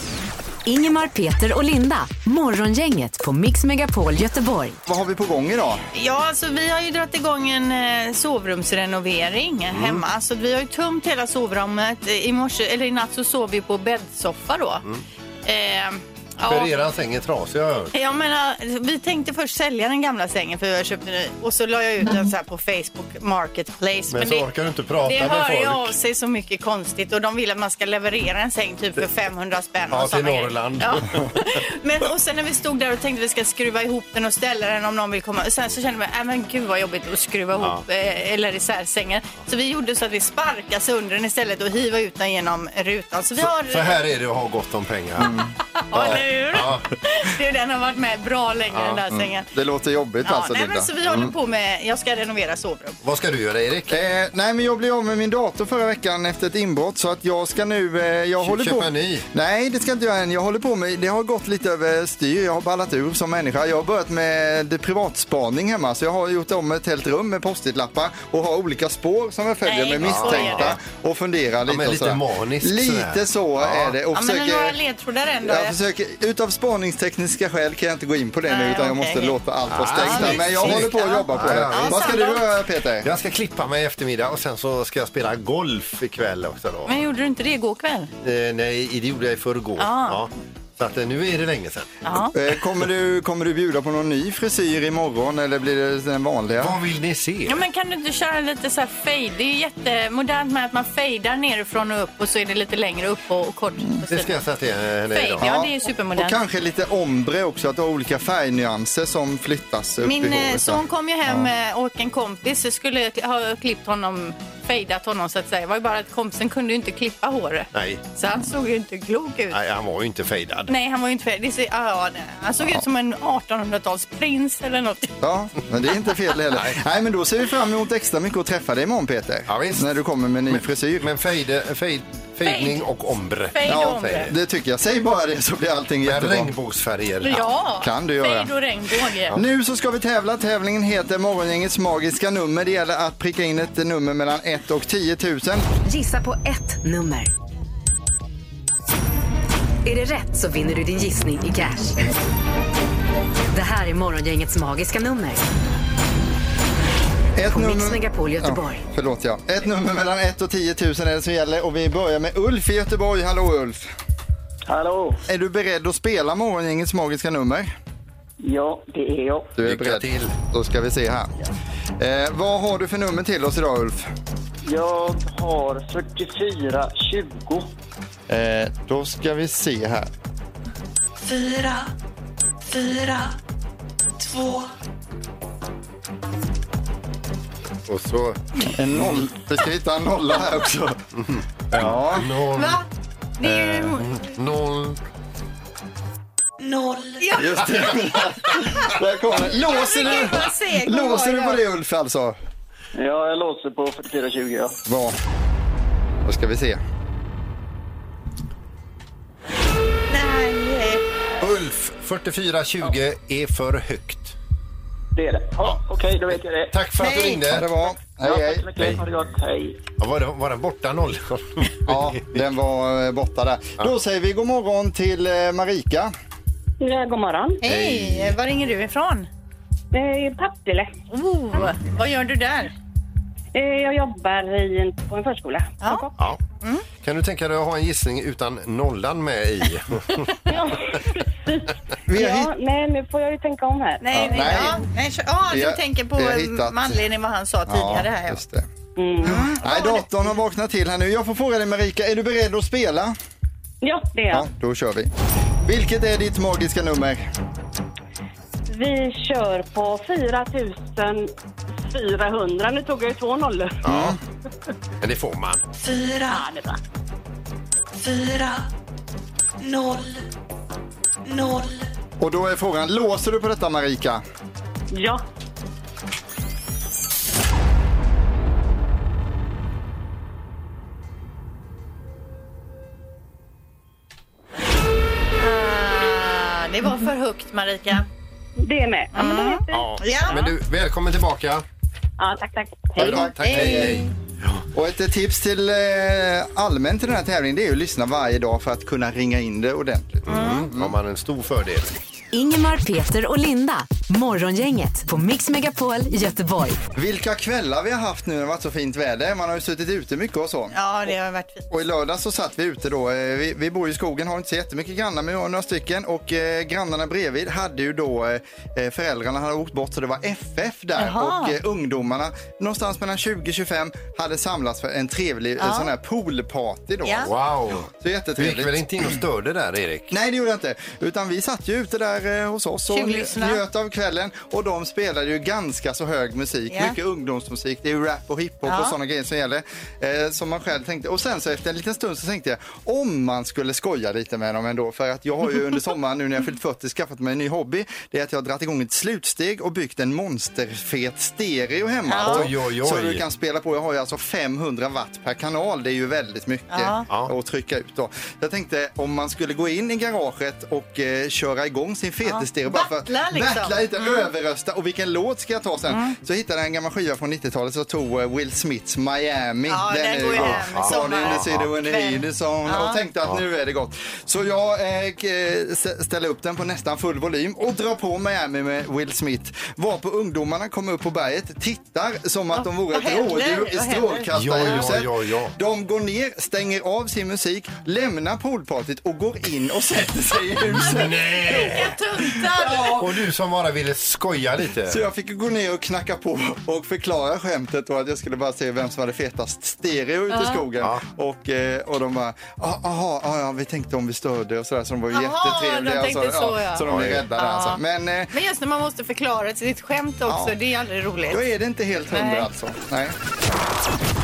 S1: Ingemar, Peter och Linda. Morgongänget på Mix Megapol Göteborg.
S2: Vad har vi på gång idag?
S3: Ja, alltså vi har ju dragit igång en eh, sovrumsrenovering
S4: Mm.
S3: hemma. Så vi har ju tömt hela
S4: Mm.
S3: sovrummet. I morse, eller i natt så sov vi på bäddsoffa då. Eh,
S4: För eran säng är trasig har jag hört.
S3: Jag menar, eh, vi tänkte först sälja den gamla sängen för jag köpte en ny och så la jag ut den så här på Facebook Marketplace.
S4: Men så orkar du inte prata
S3: det
S4: med
S3: hör ju
S4: folk.
S3: av sig så mycket konstigt och de vill att man ska leverera en säng typ för 500 spänn.
S4: Ja,
S3: och
S4: till
S3: såna grejer.
S4: Norrland.
S3: Ja. Men och sen när vi stod där och tänkte vi ska skruva ihop den och ställa den om någon vill komma. Sen så kände vi, äh, men gud vad jobbigt att skruva ihop eh, eller isär sängen. Så vi gjorde så att vi sparkade sönder den istället och hivade ut den genom rutan. Så vi har...
S4: Så här är det att ha gott om pengar.
S3: Mm. Ja, eller hur?
S4: Ja. Mm.
S3: Det, den har varit med bra länge den där sängen.
S2: Det låter jobbigt
S3: Ja,
S2: alltså
S3: nej,
S2: Linda.
S3: men så vi håller på med, jag ska renovera sovrum.
S4: Vad ska du göra Erik?
S2: Eh, nej men jag blev av med min dator förra veckan efter ett inbrott så att jag ska nu, eh, jag håller
S4: Köpa
S2: på.
S4: en ny.
S2: Nej det ska jag inte jag än, jag håller på med, det har gått lite över styr, jag har ballat ur som människa. Jag har börjat med det privatspaning hemma så jag har gjort om ett helt rum med post-it-lappar och har olika spår som jag följer
S3: Nej,
S2: med
S3: men
S2: misstänkta och funderar lite.
S4: men
S2: och
S4: lite
S2: sådär.
S4: maniskt sådär.
S2: Lite så är det. Och
S3: Ja, men
S2: försöker-
S3: några ledtrådar ändå.
S2: jag försöker, utav spaningstekniska skäl kan jag inte gå in på det nu
S3: Nej,
S2: utan jag
S3: okej.
S2: måste låta allt vara
S4: Ah,
S2: stängt. där. men jag
S4: visst.
S2: håller på att jobba på
S4: Ja,
S2: det.
S4: Ah, ja, visst.
S2: Vad ska du göra Peter?
S4: Jag ska klippa mig i eftermiddag och sen så ska jag spela golf ikväll också då.
S3: Men gjorde du inte det igår kväll?
S4: Eh, nej, det gjorde jag i förrgår.
S3: Ah.
S4: Ja. Så att eh, nu är det länge sedan.
S3: Ja.
S2: Eh, Kommer du, kommer du bjuda på någon ny frisyr imorgon eller blir det den vanliga?
S4: Vad vill ni se?
S3: Ja, men kan du inte köra lite så här fade? Det är ju jättemodernt med att man fejdar nerifrån och upp och så är det lite längre upp och, och kort.
S2: Mm,
S3: på
S4: Det ska
S3: sidan.
S4: jag säga till eh, henne
S3: Fade,
S4: idag.
S3: ja det är supermodernt.
S2: Och kanske lite ombre också, att du har olika färgnyanser som flyttas upp i
S3: Min eh,
S2: håret.
S3: son kom ju hem eh, och en kompis så skulle jag ha klippt honom, fejdat honom så att säga. Det var ju bara att kompisen kunde ju inte klippa håret.
S4: Nej.
S3: Så han såg ju inte klok ut.
S4: Nej, han var ju inte fejdad.
S3: Nej, han var ju inte färdig. Det ser- Ja, ja, nej. han såg ut som en 1800-talsprins eller något.
S2: Ja, men det är inte fel heller. Nej. men då ser vi fram emot extra mycket att träffa dig imorgon Peter.
S4: Ja, visst.
S2: När du kommer med ny frisyr.
S4: Men fejde, fejd, fejdning och ombre.
S3: Fade och ombre.
S4: säger det.
S2: Det tycker jag. Säg bara det så blir allting
S4: Med
S2: jättebra.
S4: regnbågsfärger.
S3: Ja,
S2: Kan du göra.
S3: fejd och regnbåge.
S2: Nu så ska vi tävla. Tävlingen heter Morgongängets magiska nummer. Det gäller att pricka in ett nummer mellan 1 och 10 000.
S1: Gissa på ett nummer. Är det rätt så vinner du din gissning i cash. Det här är Morgongängets magiska nummer.
S2: Ett
S1: På Mix Megapol Göteborg.
S2: Ja, förlåt ja. Ett nummer mellan 1 och 10 000 är det som gäller och vi börjar med Ulf i Göteborg. Hallå Ulf!
S5: Hallå!
S2: Är du beredd att spela Morgongängets magiska nummer?
S5: Ja, det är jag.
S2: Du är
S4: Lycka
S2: beredd.
S4: till.
S2: Då ska vi se här. Eh, vad har du för nummer till oss idag Ulf?
S5: Jag har 44 20.
S2: Eh, då ska vi se här.
S9: fyra, fyra, två,
S4: Och så...
S2: En noll. Vi ska hitta en nolla här också. Ja,
S4: Noll,
S3: Va? Det är ju...
S2: Eh.
S4: noll.
S9: noll.
S2: just det. Där kom den. Låser du,
S3: Vilken seg hon
S2: låser
S3: var,
S2: du på
S3: ja.
S2: det Ulf alltså?
S5: Ja, jag låser på 44 20. Ja.
S2: Bra. Då ska vi se.
S3: Nej.
S4: Ulf, 4420 är för högt.
S5: Det är det. Ja, Okej, då vet jag det.
S4: Tack för att du
S3: Nej.
S2: Ja, det
S4: ringde.
S2: var. Hej,
S5: Ja, tack
S2: hej.
S5: så mycket. Ha det gott. Hej.
S4: Ja, Var, den- var den borta noll?
S2: Ja, den var eh, borta där. Då säger vi god morgon till eh, Marika.
S10: Ja, god morgon.
S3: Hej, var ringer du ifrån?
S10: Eh, Partille.
S3: Oh, vad gör du där?
S10: Eh, jag jobbar i en, på en förskola.
S3: Ja.
S4: Ja.
S3: Mm.
S4: Kan du tänka dig att ha en gissning utan nollan med i?
S10: Ja, precis.
S2: Vi har
S10: ja, nej, nu får jag ju tänka om här.
S3: Nej, nej,
S2: nej.
S3: ja, nej. kör- Ja,
S2: Vi har-
S3: du tänker på
S2: vi har
S3: eh,
S2: hittat-
S3: med anledning vad han sa tidigare här. ja.
S2: just det.
S10: Mm.
S2: Nej, datorn har vaknat till här nu. Jag får fråga dig Marika, är du beredd att spela?
S10: Ja, det är jag.
S2: Ja, då kör vi. Vilket är ditt magiska nummer?
S10: Vi kör på 4 400. Nu tog jag ju två nollor.
S4: Ja. Men det får man.
S9: Fyra,
S10: Ja, det är bra.
S9: fyra, noll, noll.
S2: Och då är frågan, låser du på detta Marika?
S10: Ja.
S3: Ah, det var för högt, Marika.
S10: Det är med. Mm. Ja, men då vet vi.
S4: Ja.
S3: Ja.
S4: Men du, välkommen tillbaka.
S10: Ja, tack, tack. Hej.
S4: Tack, hej, hej.
S2: Och ett tips till eh, allmänt i den här tävlingen det är ju att lyssna varje dag för att kunna ringa in det ordentligt.
S4: Mm. Har man en stor fördel.
S1: Ingemar, Peter och Linda. Morgongänget på Mix Megapol Göteborg.
S2: Vilka kvällar vi har haft nu när det har varit så fint väder. Man har ju suttit ute mycket och så.
S3: Ja, det har varit fint.
S2: Och i lördag så satt vi ute då. Eh, Vi, vi bor i skogen, har inte så jättemycket grannar men vi har några stycken. Och eh, grannarna bredvid hade ju då, eh, eh, föräldrarna hade åkt bort så det var FF där.
S3: Jaha.
S2: Och eh, ungdomarna, någonstans mellan 20-25, hade samlats för en trevlig
S3: Ja.
S2: eh, sån här poolparty då.
S3: Ja.
S4: Wow!
S2: Så jättetrevligt.
S4: Du gick väl inte in och störde där, Erik?
S2: Nej, det gjorde jag inte. Utan vi satt ju ute där eh, hos oss och
S3: Tjuvlyssna.
S2: njöt av kvällen. Och de spelade ju ganska så hög musik.
S3: Ja.
S2: Mycket ungdomsmusik. Det är ju rap och hiphop
S3: Ja.
S2: och sådana grejer som gäller. Eh, som man själv tänkte. Och sen så efter en liten stund så tänkte jag om man skulle skoja lite med dem ändå. För att jag har ju under sommaren nu när jag fyllt 40 skaffat mig en ny hobby. Det är att jag har dragit igång ett slutsteg och byggt en monsterfet stereo hemma.
S3: Ja.
S2: Alltså,
S4: Oj, oj, oj.
S2: Så du kan spela på. Jag har ju alltså 500 watt per kanal. Det är ju väldigt mycket
S3: Ja.
S4: Ja.
S2: och trycka ut. Då. Jag tänkte om man skulle gå in i garaget och eh, köra igång sin fetestero.
S3: Ja,
S2: bara för att
S3: battla liksom. Mm.
S2: Battla lite, överrösta och vilken låt ska jag ta sen? Så hittade jag en gammal skiva från 90-talet så tog eh, Will Smiths Miami.
S3: Ja, den går ju
S2: god.
S3: hem i
S2: Ja.
S3: sommar.
S2: Sonny in the city when he
S3: Kväll.
S2: needs some.
S3: Ja.
S2: Och tänkte att nu är det gott. Så jag eh, k- s- ställer upp den på nästan full volym och drar på Miami med Will Smith. Var på ungdomarna kommer upp på berget, tittar som att de vore
S3: Vad
S2: ett
S3: händer?
S2: rådjur i
S3: Vad händer?
S2: strålkastarljuset.
S4: Ja, ja, ja, ja.
S2: De går ner, stänger av sin musik, lämnar poolpartyt och går in och sätter sig i huset.
S3: Vilka tuntar!
S4: Och du som bara ville skoja
S2: Så
S4: lite.
S2: jag fick gå ner och knacka på och förklara skämtet och att jag skulle bara se vem som hade fetast stereo ute i skogen.
S4: Ja.
S2: Och, eh, och de bara, "Ah, aha, ah, ja, vi tänkte om vi störde och sådär så de var
S3: Jaha,
S2: jättetrevliga.
S3: de
S2: och
S3: tänkte så, ja.
S2: så de blev rädda där alltså. Men eh,
S3: Men just när man måste förklara sitt skämt också,
S2: Ja.
S3: det är aldrig roligt.
S2: då är det inte helt hundra
S3: Nej.
S2: alltså. Nej.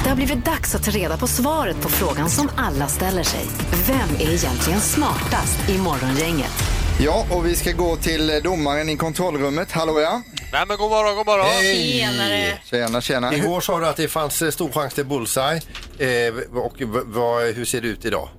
S1: Det har blivit dags att ta reda på svaret på frågan som alla ställer sig. Vem är egentligen smartast i Morgongänget?
S2: Ja, och vi ska gå till eh, domaren i kontrollrummet. Hallå ja.
S11: Nej men god morgon, god morgon.
S3: Tjenare!
S2: Tjena, tjena.
S4: Igår sa du att det fanns eh, stor chans till bullseye. Eh, och v- vad, hur ser det ut idag?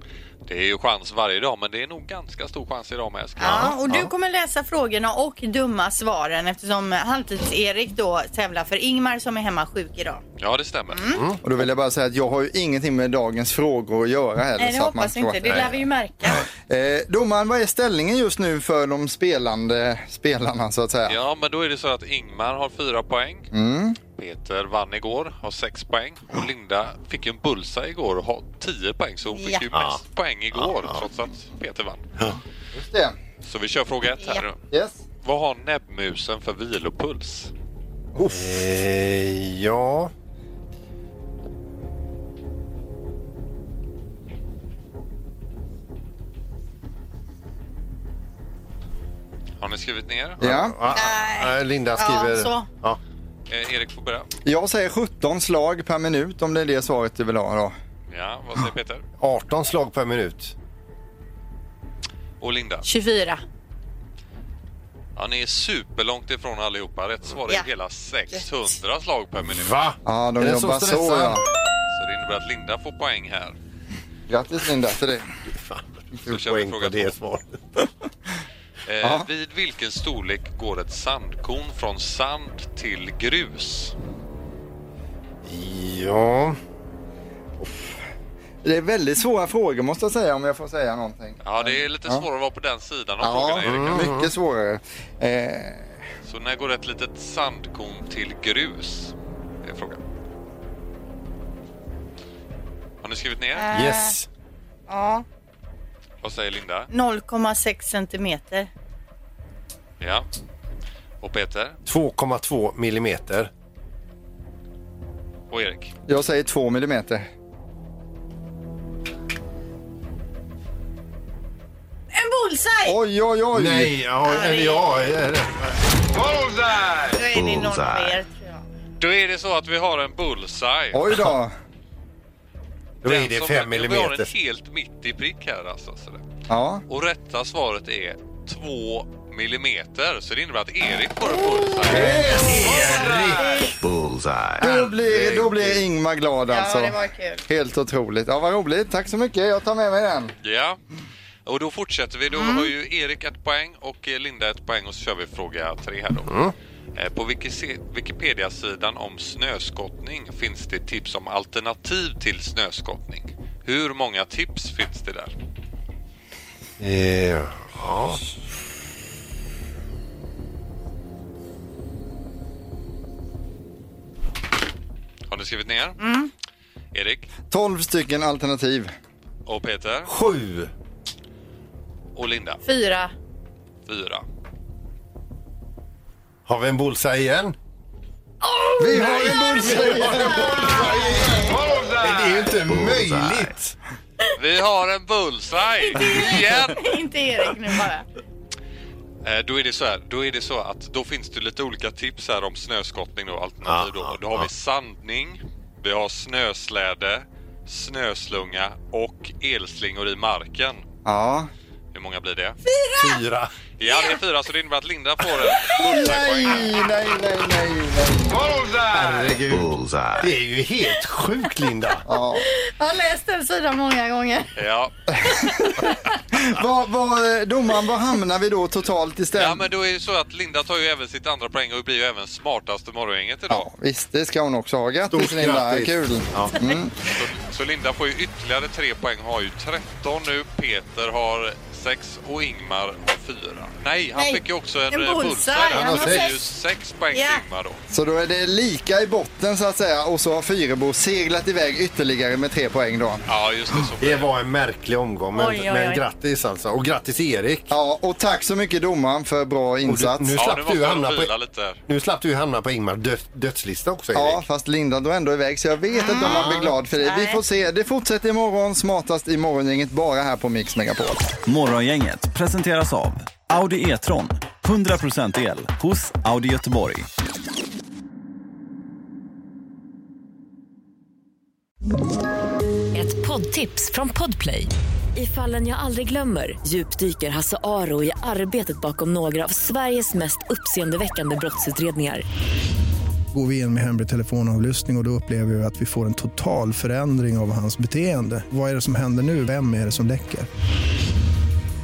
S11: Det är ju chans varje dag men det är nog ganska stor chans idag med. ska jag-
S3: Ja, och du kommer läsa frågorna och dumma svaren eftersom Halvtids-Erik då tävlar för Ingmar som är hemma sjuk idag.
S11: Ja det stämmer.
S2: Och då vill jag bara säga att jag har ju ingenting med dagens frågor att göra heller.
S3: Nej, det
S2: så att man
S3: hoppas vi
S2: tror
S3: inte.
S2: att-
S3: Det lär vi ju märka.
S2: Eh, domaren, vad är ställningen just nu för de spelande spelarna så att säga?
S11: Ja men då är det så att Ingmar har fyra poäng.
S8: Mm.
S11: Peter vann igår, har sex poäng. Och Linda fick ju en bullseye igår och har tio poäng så hon fick
S3: Ja.
S11: ju mest poäng igår trots att Peter vann.
S2: Just det.
S11: Så vi kör fråga ett här.
S2: Yes.
S11: Vad har näbbmusen för vilopuls?
S4: Eh, ja.
S11: Har ni skrivit ner?
S2: Ja.
S4: Ah, ah, Linda skriver...
S3: Ja, så.
S4: Ja.
S11: Eh, Erik får börja.
S2: Jag säger 17 slag per minut om det är det svaret du vill ha då.
S11: Ja, vad säger Peter?
S4: 18 slag per minut.
S11: Och Linda?
S3: 24.
S11: Ja, ni är superlångt ifrån allihopa. Rätt svar är
S3: Ja.
S11: hela 600 slag per minut.
S4: Va?
S2: Ja, de
S4: Är den så
S2: jobbar så,
S4: stressad?
S2: ja.
S11: Så det innebär att Linda får poäng här.
S2: Grattis Linda till det.
S11: Då kör vi fråga två. Eh,
S2: Ja.
S11: vid vilken storlek går ett sandkorn från sand till grus?
S4: Ja.
S2: Det är väldigt svåra frågor måste jag säga om jag får säga någonting.
S11: Ja, det är lite svårare att vara på den sidan av
S2: Ja, Mm.
S11: frågan, Erik.
S2: mycket svårare. Eh,
S11: Så när går ett litet sandkorn till grus? Det är frågan. Har ni skrivit
S4: Eh.
S11: ner?
S4: Yes.
S3: Ja,
S11: Vad säger Linda?
S3: 0,6 centimeter.
S11: Ja. Och Peter?
S4: 2,2 millimeter.
S11: Och Erik?
S2: jag säger 2 millimeter.
S3: En bullseye!
S2: Oj, oj, oj!
S4: Nej, ja, eller ja. eh,
S3: Då är det någon mer tror jag.
S11: Då är det så att vi har en bullseye.
S2: Oj då.
S4: Då
S11: Den
S4: är det
S11: som-
S4: 5
S11: Vi har en
S4: millimeter.
S11: helt mitt i prick här alltså. Så det.
S2: Ja.
S11: Och rätta svaret är 2 millimeter. Så det innebär att Erik får en bullseye.
S2: Då blir, då blir Ingmar glad alltså.
S3: Ja, det var kul.
S2: Helt otroligt. Ja, vad roligt. Tack så mycket. Jag tar med mig den.
S11: Ja. Och då fortsätter vi. Då har ju Erik ett poäng och eh, Linda ett poäng och så kör vi fråga tre här då. Eh, På Wiki- Wikipedia-sidan om snöskottning finns det tips om alternativ till snöskottning. Hur många tips finns det där?
S4: Eh, Ja.
S11: skrivit ner?
S3: Mm.
S11: Erik
S2: 12 stycken alternativ.
S11: och Peter
S2: Sju.
S11: och Linda.
S3: Fyra.
S11: Fyra.
S4: Har vi en bullseye igen?
S2: Vi har en bullseye!
S4: Men det är ju inte möjligt!
S11: Vi har en bullseye igen!
S3: Inte Erik nu bara.
S11: Eh, Då är, det så här, då är det så att då finns det lite olika tips här om snöskottning då, alternativ då. Då har vi sandning, vi har snösläde, snöslunga och elslingor i marken.
S2: Ja.
S11: Hur många blir det?
S4: Fyra.
S11: Ja, det är fyra så det innebär att Linda får en
S2: Nej,
S11: bullseye-poäng.
S2: nej, nej, nej,
S11: Bullseye!
S4: Herregud. Det är ju helt sjukt, Linda.
S2: Ja.
S3: Jag har läst den sidan många gånger.
S11: Ja,
S2: Vad, vad, eh, domaren, vad hamnar vi då totalt istället?
S11: ja, men då är det så att Linda tar ju även sitt andra poäng och blir ju även smartast i morgongänget idag.
S2: Visst, det ska hon också ha. Grattis
S4: Stort
S2: Linda,
S4: grattis.
S2: kul!
S4: Ja.
S2: Mm.
S11: Så, så Linda får ju ytterligare tre poäng, har ju 13 nu. Peter har 6 och Ingmar har 4. Nej, han
S3: Nej,
S11: fick ju också
S3: en
S11: en, eh,
S3: bullseye.
S11: bullseye.
S3: Han har
S11: Det är
S3: sex.
S11: ju 6 poäng
S3: Ja.
S11: till Ingmar då.
S2: Så då är det lika i botten så att säga och så har Fyrebo seglat iväg ytterligare med tre poäng då.
S11: Ja, just det. Så blir
S4: Det
S11: det.
S4: var en märklig omgång, men,
S3: Oj, oj, oj.
S4: men grattis alltså. Och grattis Erik.
S2: Ja, och tack så mycket domaren för bra
S4: Och du,
S2: insats.
S4: nu,
S11: Ja, nu
S4: slapp
S11: måste
S4: du
S11: jag
S4: hamna
S11: vila
S4: på,
S11: lite här.
S4: nu slapp du hamna på Ingmar dö, dödslista också, Erik.
S2: Ja, fast Linda drog ändå iväg så jag vet inte om man blir glad för det. Vi
S3: Nej.
S2: får se. Det fortsätter imorgon, smartast i morgongänget bara här på Mix Megapol.
S5: Morgongänget presenteras av Audi E-tron. 100% el hos Audi Göteborg.
S1: Ett poddtips från Podplay. I fallen jag aldrig glömmer djupdyker Hasse Aro i arbetet bakom några av Sveriges mest uppseendeväckande brottsutredningar.
S12: Går vi in med hemlig telefonavlyssning och, och då upplever vi att vi får en total förändring av hans beteende. Vad är det som händer nu? Vem är det som läcker?